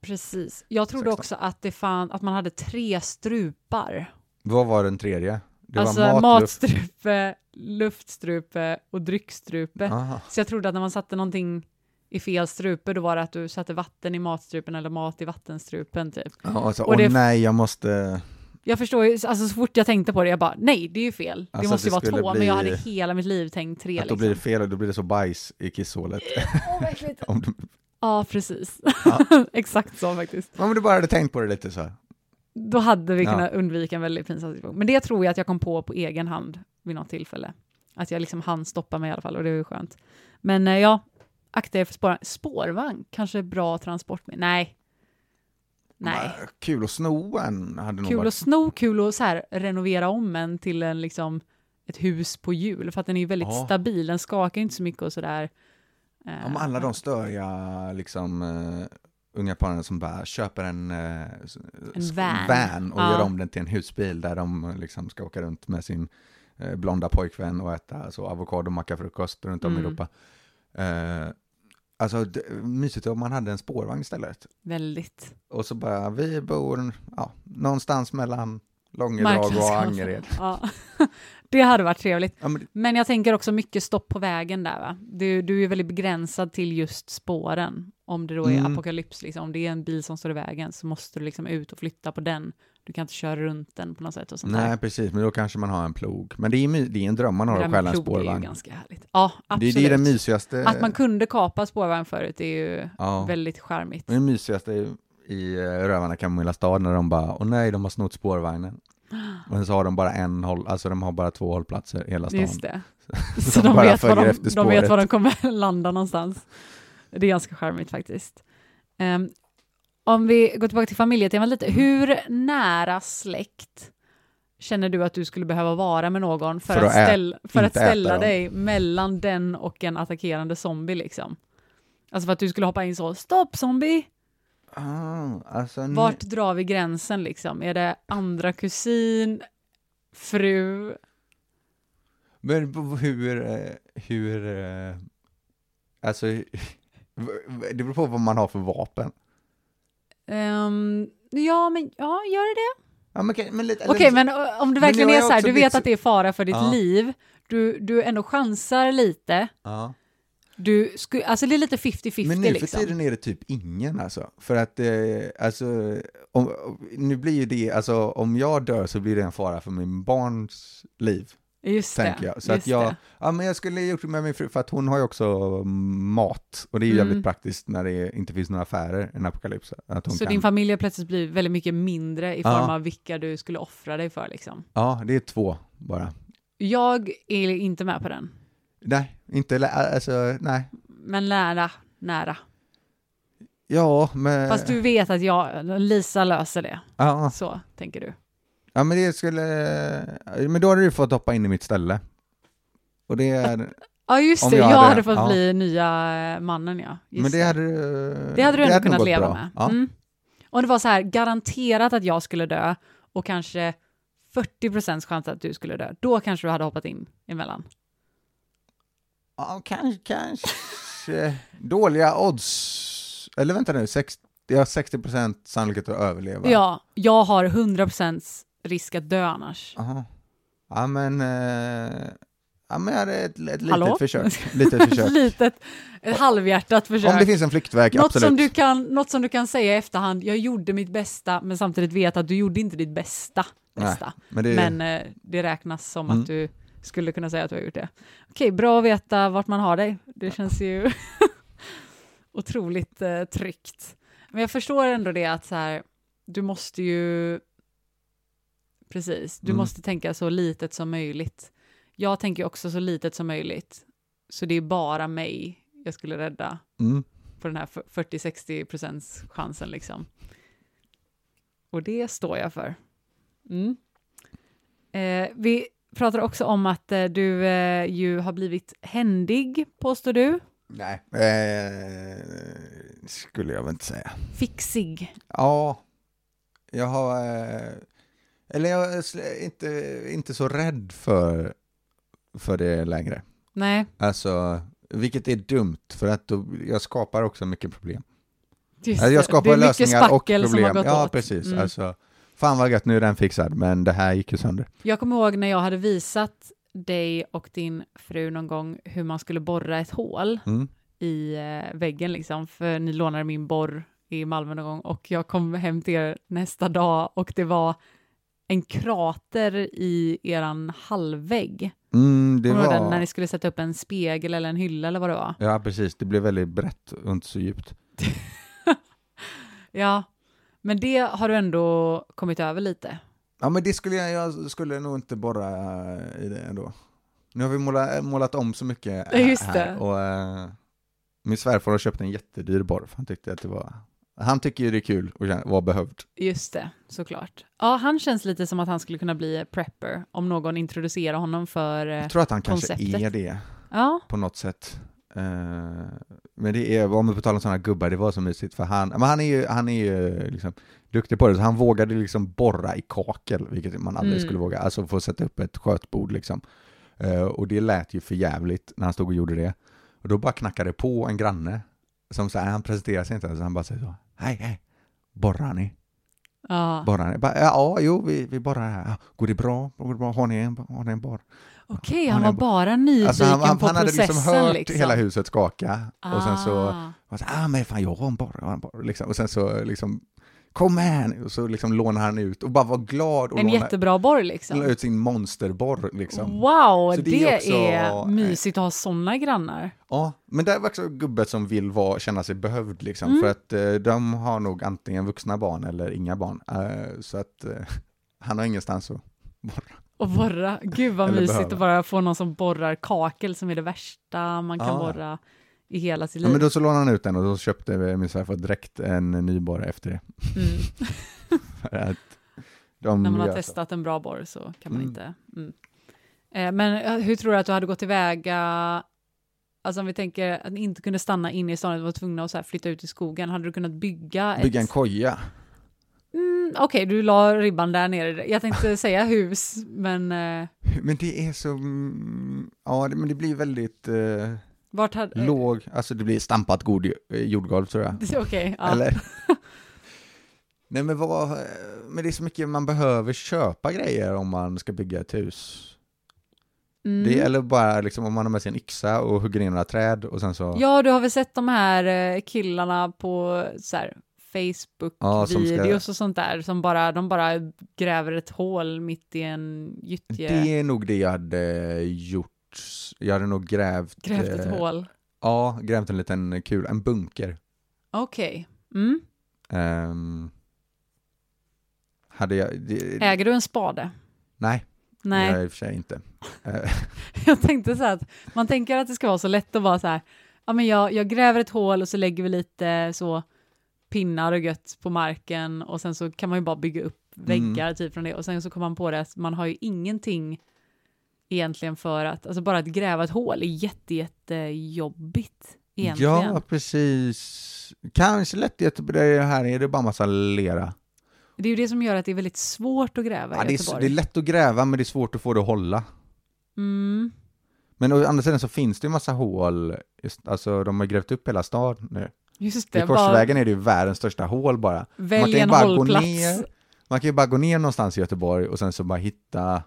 [SPEAKER 1] Precis. Jag trodde
[SPEAKER 2] 16.
[SPEAKER 1] också att, det fan, att man hade tre strupar.
[SPEAKER 2] Vad var den tredje? Det
[SPEAKER 1] alltså
[SPEAKER 2] var mat, luft-
[SPEAKER 1] matstrupe, luftstrupe och dryckstrupe.
[SPEAKER 2] Aha.
[SPEAKER 1] Så jag trodde att när man satte någonting i fel strupe, då var det att du satte vatten i matstrupen eller mat i vattenstrupen. Typ.
[SPEAKER 2] Ja, och så,
[SPEAKER 1] Och
[SPEAKER 2] åh
[SPEAKER 1] det-
[SPEAKER 2] nej, jag måste...
[SPEAKER 1] Jag förstår ju, alltså så fort jag tänkte på det, jag bara nej, det är ju fel. Det
[SPEAKER 2] Alltså,
[SPEAKER 1] måste ju
[SPEAKER 2] det
[SPEAKER 1] vara
[SPEAKER 2] skulle
[SPEAKER 1] två,
[SPEAKER 2] bli-
[SPEAKER 1] men jag hade hela mitt liv tänkt tre.
[SPEAKER 2] Att då
[SPEAKER 1] Liksom.
[SPEAKER 2] blir det fel och då blir det så bajs i kisshålet. Om du,
[SPEAKER 1] Ja, precis. Exakt så faktiskt.
[SPEAKER 2] om du bara hade tänkt på det lite så här.
[SPEAKER 1] Då hade vi
[SPEAKER 2] Ja.
[SPEAKER 1] kunnat undvika en väldigt pinsam situation. Men det tror jag att jag kom på på egen hand vid något tillfälle. Att jag liksom hann stoppa mig i alla fall och det var ju skönt. Men eh, ja, akta er för spårvagn. Spårvagn, kanske bra transport med. Nej. Nej.
[SPEAKER 2] Men, Kul att sno en hade nog
[SPEAKER 1] Kul
[SPEAKER 2] varit
[SPEAKER 1] att sno, kul att så här, renovera om en till en, liksom, ett hus på hjul, för att den är ju väldigt
[SPEAKER 2] Ja.
[SPEAKER 1] stabil, den skakar ju inte så eh, mycket och sådär.
[SPEAKER 2] Ja, men alla de störiga liksom, eh, unga paren som bara köper en, eh, s- s-
[SPEAKER 1] van.
[SPEAKER 2] van och
[SPEAKER 1] Ja.
[SPEAKER 2] gör om den till en husbil där de eh, liksom, ska åka runt med sin eh, blonda pojkvän och äta så avokadomackafrukost runt om i
[SPEAKER 1] Mm.
[SPEAKER 2] Europa. Eh, alltså, d- mysigt om man hade en spårvagn istället.
[SPEAKER 1] Väldigt.
[SPEAKER 2] Och så bara, vi bor ja, någonstans mellan Långedrag och
[SPEAKER 1] marknadsgatan.
[SPEAKER 2] Angered.
[SPEAKER 1] Ja. Det hade varit trevligt.
[SPEAKER 2] Ja, men, det-
[SPEAKER 1] Men jag tänker också mycket stopp på vägen där, va? Du, du är väldigt begränsad till just spåren. Om det då är
[SPEAKER 2] Mm.
[SPEAKER 1] apokalyps, liksom. om det är en bil som står i vägen så måste du liksom ut och flytta på den. Du kan inte köra runt den på något sätt och sånt där.
[SPEAKER 2] nej, precis, men då kanske man har en plog. Men det är, my- det är en dröm man har
[SPEAKER 1] Det där
[SPEAKER 2] att
[SPEAKER 1] med
[SPEAKER 2] stjäla en
[SPEAKER 1] plog, Det är ju
[SPEAKER 2] spårvagn.
[SPEAKER 1] ganska härligt. Ja,
[SPEAKER 2] Det,
[SPEAKER 1] absolut.
[SPEAKER 2] det är det mysigaste.
[SPEAKER 1] Att man kunde kapa spårvagn förut är ju
[SPEAKER 2] Eh. ja.
[SPEAKER 1] väldigt charmigt.
[SPEAKER 2] Men det mysigaste är i eh, Rövarna Kamomilla stad när de bara, åh nej, de har snott spårvagnen. Men så har de bara en håll, alltså de har bara två hållplatser i hela stan.
[SPEAKER 1] Just det.
[SPEAKER 2] Så
[SPEAKER 1] Så
[SPEAKER 2] de
[SPEAKER 1] de
[SPEAKER 2] bara
[SPEAKER 1] vet, var
[SPEAKER 2] följer
[SPEAKER 1] de,
[SPEAKER 2] efter
[SPEAKER 1] de vet var
[SPEAKER 2] spåret.
[SPEAKER 1] de kommer landa någonstans. Det är ganska charmigt faktiskt. Ehm, om vi går tillbaka till familjetemat lite.
[SPEAKER 2] Mm.
[SPEAKER 1] Hur nära släkt känner du att du skulle behöva vara med någon för,
[SPEAKER 2] För
[SPEAKER 1] att,
[SPEAKER 2] att ä-
[SPEAKER 1] ställa, för att
[SPEAKER 2] inte äta
[SPEAKER 1] ställa
[SPEAKER 2] dem.
[SPEAKER 1] dig mellan den och en attackerande zombie liksom? Alltså för att du skulle hoppa in så, stopp zombie!
[SPEAKER 2] Ah, alltså, n-
[SPEAKER 1] Vart drar vi gränsen liksom? Är det andra kusin, fru?
[SPEAKER 2] Men b- hur, eh, hur, eh, alltså, v- v- det beror på vad man har för vapen.
[SPEAKER 1] Ehm, ja, men ja, gör det det?
[SPEAKER 2] Ja, men, okej, men lite, eller-
[SPEAKER 1] Okej, men ö, om det
[SPEAKER 2] Men
[SPEAKER 1] verkligen
[SPEAKER 2] jag
[SPEAKER 1] är
[SPEAKER 2] är
[SPEAKER 1] så här,
[SPEAKER 2] också
[SPEAKER 1] du vet
[SPEAKER 2] lite-
[SPEAKER 1] att det är fara för ditt
[SPEAKER 2] Ja.
[SPEAKER 1] liv, du, du ändå chansar lite,
[SPEAKER 2] ja.
[SPEAKER 1] du sku, alltså det är lite 50-50
[SPEAKER 2] Men nu för
[SPEAKER 1] liksom.
[SPEAKER 2] tiden är det typ ingen alltså. För att, eh, alltså, om, nu blir ju det, alltså om jag dör så blir det en fara för min barns liv.
[SPEAKER 1] Just det.
[SPEAKER 2] tänker jag. Så
[SPEAKER 1] just
[SPEAKER 2] att jag,
[SPEAKER 1] det.
[SPEAKER 2] ja, men jag skulle ha gjort det med min fru, för att hon har ju också mat. Och det är ju
[SPEAKER 1] Mm.
[SPEAKER 2] jävligt praktiskt när det inte finns några affärer i en apokalyps. Att hon
[SPEAKER 1] Så
[SPEAKER 2] kan,
[SPEAKER 1] din familj har plötsligt blivit väldigt mycket mindre i form
[SPEAKER 2] Ja.
[SPEAKER 1] av vilka du skulle offra dig för liksom.
[SPEAKER 2] ja, det är två bara.
[SPEAKER 1] Jag är inte med på den.
[SPEAKER 2] Nej, inte, lä- alltså, nej.
[SPEAKER 1] Men nära, nära.
[SPEAKER 2] Ja, men...
[SPEAKER 1] Fast du vet att jag, Lisa löser det.
[SPEAKER 2] Eh. Ja,
[SPEAKER 1] Så tänker du.
[SPEAKER 2] ja men det skulle... Men då hade du fått hoppa in i mitt ställe. Och det är...
[SPEAKER 1] Ja just
[SPEAKER 2] Om
[SPEAKER 1] det, jag
[SPEAKER 2] jag
[SPEAKER 1] hade,
[SPEAKER 2] hade-
[SPEAKER 1] fått
[SPEAKER 2] ja.
[SPEAKER 1] bli nya eh, mannen ja. Just
[SPEAKER 2] Men det hade du...
[SPEAKER 1] det hade du ändå
[SPEAKER 2] nog
[SPEAKER 1] kunnat
[SPEAKER 2] gått
[SPEAKER 1] leva
[SPEAKER 2] bra.
[SPEAKER 1] med.
[SPEAKER 2] Ja.
[SPEAKER 1] Mm. Om det var så här garanterat att jag skulle dö och kanske 40 chans att du skulle dö, då kanske du hade hoppat in emellan.
[SPEAKER 2] Ja, kanske, kanske. Dåliga odds. Eller vänta nu, 60, jag har 60% sannolikhet att överleva.
[SPEAKER 1] Ja, jag har 100 risk att dö annars.
[SPEAKER 2] Aha. Ja, men... Eh, ja, men jag hade ett, ett
[SPEAKER 1] Hallå?
[SPEAKER 2] litet försök. Litet
[SPEAKER 1] Ett
[SPEAKER 2] försök.
[SPEAKER 1] litet, ett halvhjärtat försök.
[SPEAKER 2] Om det finns en flyktväg,
[SPEAKER 1] något,
[SPEAKER 2] absolut.
[SPEAKER 1] som du kan, något som du kan säga i efterhand, jag gjorde mitt bästa, men samtidigt vet att du gjorde inte ditt bästa.
[SPEAKER 2] Nej,
[SPEAKER 1] bästa.
[SPEAKER 2] men det,
[SPEAKER 1] Men eh, det räknas som
[SPEAKER 2] Mm.
[SPEAKER 1] att du skulle kunna säga att du har gjort det. Okej, bra att veta vart man har dig. Det känns ju otroligt eh, tryggt. Men jag förstår ändå det att så här, du måste ju... Precis, du
[SPEAKER 2] Mm.
[SPEAKER 1] måste tänka så litet som möjligt. Jag tänker också så litet som möjligt. Så det är bara mig jag skulle rädda
[SPEAKER 2] mm.
[SPEAKER 1] på den här 40-60 procents chansen liksom. Och det står jag för. Mm. Eh, vi pratar också om att eh, du eh, ju har blivit händig, påstår du.
[SPEAKER 2] Nej, eh, skulle jag väl inte säga.
[SPEAKER 1] Fixig.
[SPEAKER 2] Ja, jag har... Eh, eller jag är sl- inte, inte så rädd för, för det längre.
[SPEAKER 1] Nej,
[SPEAKER 2] Alltså, vilket är dumt, för att då, jag skapar också mycket problem.
[SPEAKER 1] just
[SPEAKER 2] Alltså, jag
[SPEAKER 1] det.
[SPEAKER 2] skapar
[SPEAKER 1] det är mycket
[SPEAKER 2] lösningar och
[SPEAKER 1] spackel som
[SPEAKER 2] problem.
[SPEAKER 1] har gått
[SPEAKER 2] ja,
[SPEAKER 1] åt.
[SPEAKER 2] precis.
[SPEAKER 1] Mm.
[SPEAKER 2] Alltså, fan vad gött, nu är den fixad, men det här gick ju sönder.
[SPEAKER 1] Jag kommer ihåg när jag hade visat dig och din fru någon gång hur man skulle borra ett hål.
[SPEAKER 2] Mm.
[SPEAKER 1] i eh, väggen liksom, för ni lånade min borr i Malmö någon gång och jag kom hem till er nästa dag och det var en krater i eran hallvägg.
[SPEAKER 2] Mm, det
[SPEAKER 1] Kommer du ihåg den, när
[SPEAKER 2] var...
[SPEAKER 1] ni skulle sätta upp en spegel eller en hylla eller vad det var.
[SPEAKER 2] Ja, precis. Det blev väldigt brett och inte så djupt.
[SPEAKER 1] Ja, men det har du ändå kommit över lite.
[SPEAKER 2] Ja, men det skulle jag, jag skulle nog inte borra eh, i det ändå. Nu har vi målat, målat om så mycket
[SPEAKER 1] Ja, just
[SPEAKER 2] här
[SPEAKER 1] det.
[SPEAKER 2] och eh, min svärfar har köpt en jättedyr borr, för han tyckte att det var... Han tycker ju det är kul och känner- vara behövd.
[SPEAKER 1] Just det, såklart. Ja, han känns lite som att han skulle kunna bli prepper om någon introducerar honom för... eh,
[SPEAKER 2] Jag tror att han kanske
[SPEAKER 1] konceptet.
[SPEAKER 2] är det.
[SPEAKER 1] Ja,
[SPEAKER 2] på något sätt. Eh, men det är, om vi på tal om sådana gubbar, det var så mysigt för han, men han är ju, han är ju liksom duktig på det, så han vågade liksom borra i kakel, vilket man aldrig
[SPEAKER 1] Mm.
[SPEAKER 2] skulle våga, alltså få sätta upp ett skötbord liksom. Eh, och det lät ju för jävligt när han stod och gjorde det. Och då bara knackade det på en granne, som så här, han presenterade sig inte ens, han bara säger så, hej hej, borrar ni?
[SPEAKER 1] ja.
[SPEAKER 2] Borrar ni? Bara, ja, jo, vi, vi borrar här. "Ja, Går det bra? Går det bra? Har ni en, har ni en borr?
[SPEAKER 1] okej,
[SPEAKER 2] Han
[SPEAKER 1] han
[SPEAKER 2] är
[SPEAKER 1] var
[SPEAKER 2] bo-
[SPEAKER 1] bara nyfiken
[SPEAKER 2] Alltså han, han,
[SPEAKER 1] på
[SPEAKER 2] han hade
[SPEAKER 1] processen.
[SPEAKER 2] liksom hört
[SPEAKER 1] liksom.
[SPEAKER 2] hela huset skaka och sen så
[SPEAKER 1] Ah.
[SPEAKER 2] han sa, ah men fan jag har en borr, jag har en borr, liksom. Och sen så liksom, kom här nu, och så liksom lånade han ut och bara var glad och
[SPEAKER 1] En
[SPEAKER 2] lånade
[SPEAKER 1] jättebra borr
[SPEAKER 2] la
[SPEAKER 1] liksom.
[SPEAKER 2] ut sin monsterborr liksom.
[SPEAKER 1] Wow,
[SPEAKER 2] Så
[SPEAKER 1] det,
[SPEAKER 2] det är också-
[SPEAKER 1] är mysigt att ha sådana grannar.
[SPEAKER 2] Ja, men det var också gubbar som vill vara, känna sig behövd liksom,
[SPEAKER 1] Mm.
[SPEAKER 2] för att eh, de har nog antingen vuxna barn eller inga barn. Eh, så att eh, han har ingenstans att borra.
[SPEAKER 1] Och borra, gud vad
[SPEAKER 2] Eller
[SPEAKER 1] mysigt
[SPEAKER 2] behöva.
[SPEAKER 1] att bara få någon som borrar kakel som är det värsta man kan
[SPEAKER 2] Ah, Ja.
[SPEAKER 1] borra i hela sitt
[SPEAKER 2] Ja,
[SPEAKER 1] liv.
[SPEAKER 2] men då så lånade han ut den och då köpte eh, min svärfar direkt en ny borr efter det.
[SPEAKER 1] mm.
[SPEAKER 2] För att de
[SPEAKER 1] När man har
[SPEAKER 2] gör Mm, så.
[SPEAKER 1] testat en bra borr så kan man
[SPEAKER 2] Mm.
[SPEAKER 1] inte. Mm. Eh, Men eh, hur tror du att du hade gått tillväga? Alltså om vi tänker att ni inte kunde stanna inne i stan, utan var tvungna att så här flytta ut i skogen. Hade du kunnat bygga,
[SPEAKER 2] Bygga en
[SPEAKER 1] ett...
[SPEAKER 2] koja.
[SPEAKER 1] Mm, Okej, du la ribban där nere. Jag tänkte säga hus, men... eh,
[SPEAKER 2] Men det är så, mm, ja det- men det blir väldigt eh,
[SPEAKER 1] Vart hade...
[SPEAKER 2] låg, alltså det blir stampat god eh, jordgolv tror jag.
[SPEAKER 1] Okej, ja.
[SPEAKER 2] Eller? Nej men vad, eh, men det är så mycket man behöver köpa grejer om man ska bygga ett hus.
[SPEAKER 1] Mm.
[SPEAKER 2] Det, eller bara liksom om man har med sig en yxa och hugger ner några träd och sen så,
[SPEAKER 1] Ja, du har väl sett de här eh, killarna på så här,
[SPEAKER 2] Ja, som ska-
[SPEAKER 1] Facebook-videos och sånt där, som bara, de bara gräver ett hål mitt i en gyttje.
[SPEAKER 2] det är nog det jag hade gjort. Jag hade nog grävt,
[SPEAKER 1] Grävt ett
[SPEAKER 2] eh,
[SPEAKER 1] hål.
[SPEAKER 2] Ja, grävt en liten kul, en bunker.
[SPEAKER 1] Okej. Mm.
[SPEAKER 2] Ehm, hade jag, det,
[SPEAKER 1] Eh. Äger du en spade?
[SPEAKER 2] nej,
[SPEAKER 1] Nej,
[SPEAKER 2] Jag i och för sig inte. Eh,
[SPEAKER 1] jag tänkte så här att man tänker att det ska vara så lätt att bara så här, ja men jag, jag gräver ett hål och så lägger vi lite så pinnar och gött på marken och sen så kan man ju bara bygga upp
[SPEAKER 2] Mm.
[SPEAKER 1] väggar typ från det och sen så kommer man på det att man har ju ingenting egentligen för att, alltså bara att gräva ett hål är jätte, jätte jobbigt egentligen.
[SPEAKER 2] ja, precis. Kanske lätt i Göteborg, här är det bara massa lera.
[SPEAKER 1] Det är ju det som gör att det är väldigt svårt att gräva
[SPEAKER 2] Ja,
[SPEAKER 1] i
[SPEAKER 2] det, är, s-
[SPEAKER 1] Göteborg.
[SPEAKER 2] det är lätt att gräva, men det är svårt att få det att hålla.
[SPEAKER 1] mm.
[SPEAKER 2] Men å andra sidan så finns det ju massa hål, just, alltså de har grävt upp hela staden nu.
[SPEAKER 1] Just
[SPEAKER 2] I
[SPEAKER 1] det, bara
[SPEAKER 2] Korsvägen är det ju världens största hål bara. Man
[SPEAKER 1] välj
[SPEAKER 2] kan ju
[SPEAKER 1] en
[SPEAKER 2] bara gå
[SPEAKER 1] hållplats.
[SPEAKER 2] ner, man kan ju bara gå ner någonstans i Göteborg och sen så bara hitta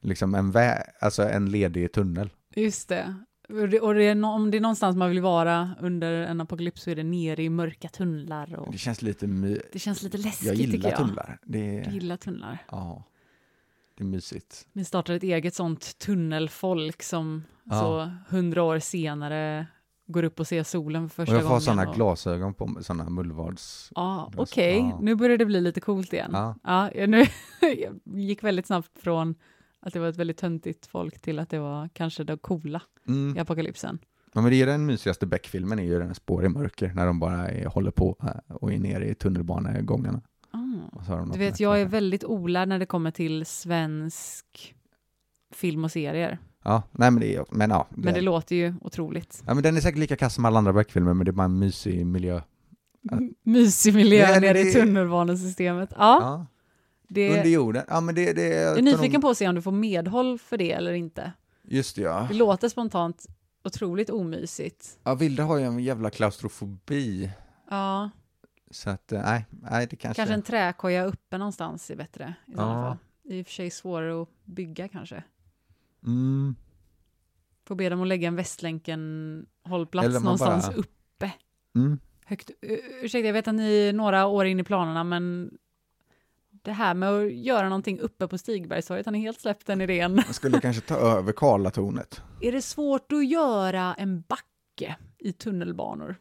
[SPEAKER 2] liksom en vä- alltså en ledig tunnel.
[SPEAKER 1] Just det. Och, det, och det är nå- om det är någonstans man vill vara under en apokalyps så är det nere i mörka tunnlar. Och
[SPEAKER 2] Det känns lite my-
[SPEAKER 1] det känns lite läskigt
[SPEAKER 2] jag
[SPEAKER 1] tycker
[SPEAKER 2] gillar
[SPEAKER 1] jag.
[SPEAKER 2] tunnlar. Det
[SPEAKER 1] Jag
[SPEAKER 2] är,
[SPEAKER 1] gillar tunnlar.
[SPEAKER 2] ja, det är mysigt.
[SPEAKER 1] Ni startar ett eget sånt tunnelfolk som
[SPEAKER 2] Ja.
[SPEAKER 1] så hundra år senare går upp och ser solen för första
[SPEAKER 2] Och jag
[SPEAKER 1] gången.
[SPEAKER 2] får sådana
[SPEAKER 1] och-
[SPEAKER 2] glasögon på mig, sådana mullvads...
[SPEAKER 1] Ja,
[SPEAKER 2] Glas-
[SPEAKER 1] okej.
[SPEAKER 2] ja.
[SPEAKER 1] Nu börjar det bli lite coolt igen.
[SPEAKER 2] Ja.
[SPEAKER 1] jag, nu jag gick väldigt snabbt från att det var ett väldigt töntigt folk till att det var kanske det coola
[SPEAKER 2] Mm.
[SPEAKER 1] i apokalypsen.
[SPEAKER 2] Ja, men det är den mysigaste Beck-filmen, är ju den här Spår i mörker, när de bara är, håller på eh, och är nere i tunnelbanegångarna.
[SPEAKER 1] Ah.
[SPEAKER 2] Och så har de något
[SPEAKER 1] Du vet,
[SPEAKER 2] med
[SPEAKER 1] jag är
[SPEAKER 2] sig.
[SPEAKER 1] väldigt olärd när det kommer till svensk film och serier.
[SPEAKER 2] Ja, nej men det är, men ja.
[SPEAKER 1] Men det låter ju otroligt.
[SPEAKER 2] ja men den är säkert lika kass som alla andra Beck-filmer, men det är bara en mysig miljö.
[SPEAKER 1] M- Mysig miljö
[SPEAKER 2] Nej, nej,
[SPEAKER 1] nere i
[SPEAKER 2] det-
[SPEAKER 1] tunnelbanesystemet. Ja,
[SPEAKER 2] Ja,
[SPEAKER 1] det,
[SPEAKER 2] under jorden. Ja, men det, det
[SPEAKER 1] jag är nyfiken på att se om du får medhåll för det eller inte.
[SPEAKER 2] Just det, ja.
[SPEAKER 1] Det låter spontant otroligt omysigt.
[SPEAKER 2] Ja, Vilde har ju en jävla klaustrofobi,
[SPEAKER 1] Ja,
[SPEAKER 2] så att eh, nej, nej det kanske...
[SPEAKER 1] kanske en träkoja uppe någonstans är bättre i sådana
[SPEAKER 2] Ja.
[SPEAKER 1] fall. I och för sig svårare att bygga kanske.
[SPEAKER 2] Mm,
[SPEAKER 1] Får be dem att lägga en Västlänken-hållplats
[SPEAKER 2] Eller man
[SPEAKER 1] någonstans
[SPEAKER 2] bara-
[SPEAKER 1] uppe.
[SPEAKER 2] mm.
[SPEAKER 1] Högt, u- ursäkta, jag vet att ni är några år in i planerna, men det här med att göra någonting uppe på Stigbergstorget, har ni helt släppt den idén?
[SPEAKER 2] Man skulle kanske ta över Karlatornet.
[SPEAKER 1] Är det svårt att göra en backe i tunnelbanor?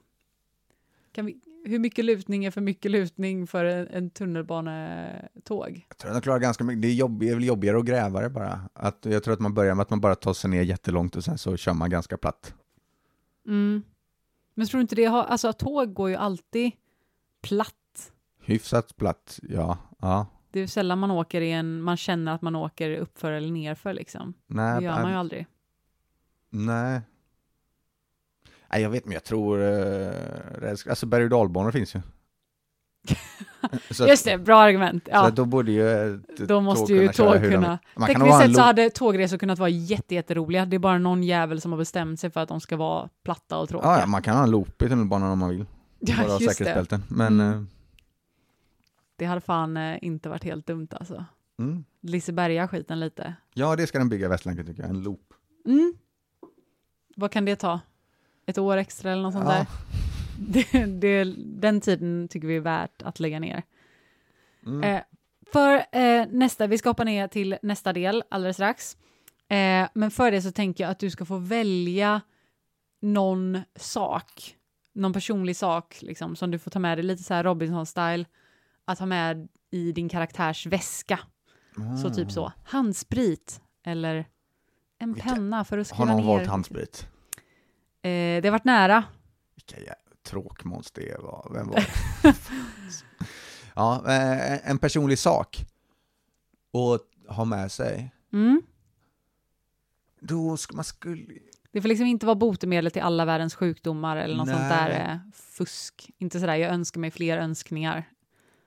[SPEAKER 1] Kan vi, hur mycket lutning är för mycket lutning för en, en tunnelbanetåg?
[SPEAKER 2] Jag tror att de klarar ganska mycket. Det är, jobb, det är väl jobbigare att gräva det bara. Att, jag tror att man börjar med att man bara tar sig ner jättelångt och sen så kör man ganska platt.
[SPEAKER 1] Mm. Men tror du inte det har, alltså tåg går ju alltid platt.
[SPEAKER 2] Hyfsat platt, ja. ja.
[SPEAKER 1] Det är ju sällan man åker i en, man känner att man åker uppför eller nerför liksom.
[SPEAKER 2] Nej,
[SPEAKER 1] Det gör man ju
[SPEAKER 2] nej,
[SPEAKER 1] aldrig.
[SPEAKER 2] nej. Nej, jag vet, men jag tror... Eh, räls- alltså berg och dalbanor finns ju. så att,
[SPEAKER 1] Just det, bra argument.
[SPEAKER 2] så
[SPEAKER 1] Ja.
[SPEAKER 2] att då borde ju ett
[SPEAKER 1] Då måste
[SPEAKER 2] tåg
[SPEAKER 1] ju
[SPEAKER 2] kunna köra
[SPEAKER 1] tåg
[SPEAKER 2] hur de-
[SPEAKER 1] kunna...
[SPEAKER 2] Man kan nog
[SPEAKER 1] Tekniskt
[SPEAKER 2] ha
[SPEAKER 1] sett
[SPEAKER 2] en
[SPEAKER 1] så
[SPEAKER 2] lo-
[SPEAKER 1] hade tågresor kunnat vara jätte, jätteroliga. Det är bara någon jävel som har bestämt sig för att de ska vara platta och tråkiga.
[SPEAKER 2] Ah, ja, ja, man kan ha en loop i tunnelbanan om man vill.
[SPEAKER 1] Ja,
[SPEAKER 2] bara ha
[SPEAKER 1] just det.
[SPEAKER 2] säkerhetsbälten. Men...
[SPEAKER 1] Mm.
[SPEAKER 2] Mm.
[SPEAKER 1] Det hade fan eh, inte varit helt dumt alltså.
[SPEAKER 2] Mm.
[SPEAKER 1] Liseberga skiten lite.
[SPEAKER 2] Ja, det ska den bygga i Västlänken tycker jag. En loop.
[SPEAKER 1] Mm. Vad kan det ta? Ett år extra eller något sånt
[SPEAKER 2] Ja.
[SPEAKER 1] där? Det, det, den tiden tycker vi är värt att lägga ner.
[SPEAKER 2] Mm.
[SPEAKER 1] Eh, för eh, nästa, vi ska hoppa ner till nästa del alldeles strax. Eh, men för det så tänker jag att du ska få välja någon sak, någon personlig sak liksom, som du får ta med dig lite så här Robinson-style, att ha med i din karaktärs väska. Så typ så,
[SPEAKER 2] Mm.
[SPEAKER 1] handsprit eller en
[SPEAKER 2] Vilka-
[SPEAKER 1] penna för att skriva
[SPEAKER 2] Har någon
[SPEAKER 1] ner.
[SPEAKER 2] valt handsprit?
[SPEAKER 1] Eh, det har varit nära.
[SPEAKER 2] Vilka jävla tråkmåns det var. Vem var det? ja, eh, en personlig sak att ha med sig.
[SPEAKER 1] Mm.
[SPEAKER 2] Då ska man skulle...
[SPEAKER 1] Det får liksom inte vara botemedel till alla världens sjukdomar eller något sånt
[SPEAKER 2] Nej.
[SPEAKER 1] där eh, fusk. Inte sådär, jag önskar mig fler önskningar.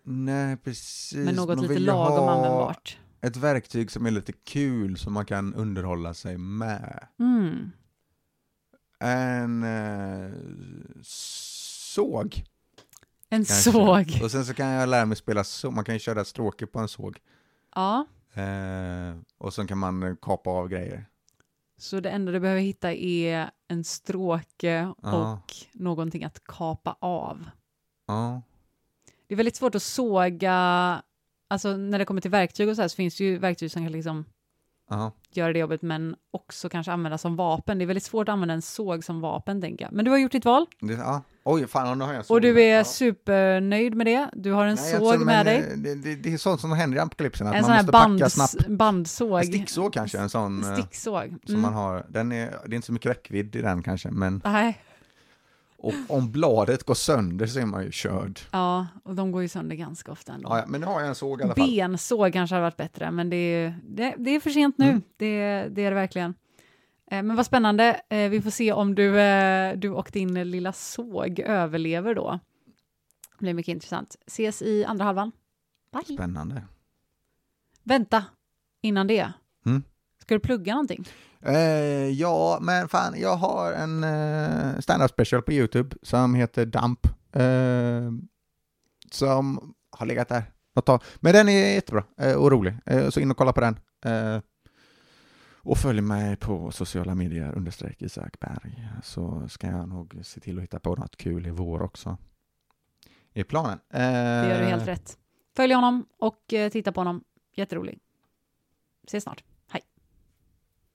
[SPEAKER 2] Nej, precis.
[SPEAKER 1] Men något
[SPEAKER 2] Man
[SPEAKER 1] lite
[SPEAKER 2] vill ju
[SPEAKER 1] lagom
[SPEAKER 2] ha
[SPEAKER 1] användbart.
[SPEAKER 2] Ett verktyg som är lite kul som man kan underhålla sig med.
[SPEAKER 1] Mm.
[SPEAKER 2] En eh, såg.
[SPEAKER 1] En
[SPEAKER 2] kanske.
[SPEAKER 1] såg.
[SPEAKER 2] Och sen så kan jag lära mig spela såg. Man kan ju köra stråke på en såg.
[SPEAKER 1] Ja,
[SPEAKER 2] Eh, och sen kan man eh, kapa av grejer.
[SPEAKER 1] så det enda du behöver hitta är en stråke
[SPEAKER 2] Ja.
[SPEAKER 1] och någonting att kapa av.
[SPEAKER 2] Ja.
[SPEAKER 1] Det är väldigt svårt att såga, alltså när det kommer till verktyg och så här så finns det ju verktyg som kan liksom
[SPEAKER 2] Ja.
[SPEAKER 1] göra det jobbet, men också kanske använda som vapen. Det är väldigt svårt att använda en såg som vapen, tänker jag. Men du har gjort ditt val
[SPEAKER 2] Det, ja. Oj, fan, nu har jag
[SPEAKER 1] och du är
[SPEAKER 2] ja.
[SPEAKER 1] supernöjd med det. Du har en
[SPEAKER 2] Nej,
[SPEAKER 1] såg
[SPEAKER 2] alltså, men,
[SPEAKER 1] med dig.
[SPEAKER 2] eh, Det, det, det är sånt som händer i apokalypsen, att
[SPEAKER 1] En sån
[SPEAKER 2] man
[SPEAKER 1] här
[SPEAKER 2] måste packa
[SPEAKER 1] bands,
[SPEAKER 2] snabbt.
[SPEAKER 1] bandsåg.
[SPEAKER 2] En sticksåg kanske, en sån eh,
[SPEAKER 1] Sticksåg. Mm.
[SPEAKER 2] som man har. Den är, det är inte så mycket räckvidd i den kanske, men
[SPEAKER 1] Nej,
[SPEAKER 2] och, om bladet går sönder så är man ju körd.
[SPEAKER 1] ja, och de går ju sönder ganska ofta ändå.
[SPEAKER 2] Ja, ja, men nu har jag en såg i alla fall.
[SPEAKER 1] Bensåg kanske hade varit bättre, men det är, det, det är för sent nu.
[SPEAKER 2] Mm.
[SPEAKER 1] Det, det är det verkligen. Eh, Men vad spännande. Eh, Vi får se om du, eh, du och din lilla såg överlever då. Det blir mycket intressant. Ses i andra halvan. Bye.
[SPEAKER 2] Spännande.
[SPEAKER 1] Vänta, innan det.
[SPEAKER 2] Mm.
[SPEAKER 1] Ska du plugga någonting?
[SPEAKER 2] Eh, ja, men fan, jag har en eh, stand-up special på YouTube som heter Dump. Eh, som har legat där ett tag. Men den är jättebra eh, och rolig, eh, så in och kolla på den. Eh, och följ mig på sociala medier understreck Isak Berg så ska jag nog se till att hitta på något kul i vår också. I planen. Eh,
[SPEAKER 1] Det gör du helt rätt. Följ honom och eh, titta på honom. Jätterolig. Ses snart.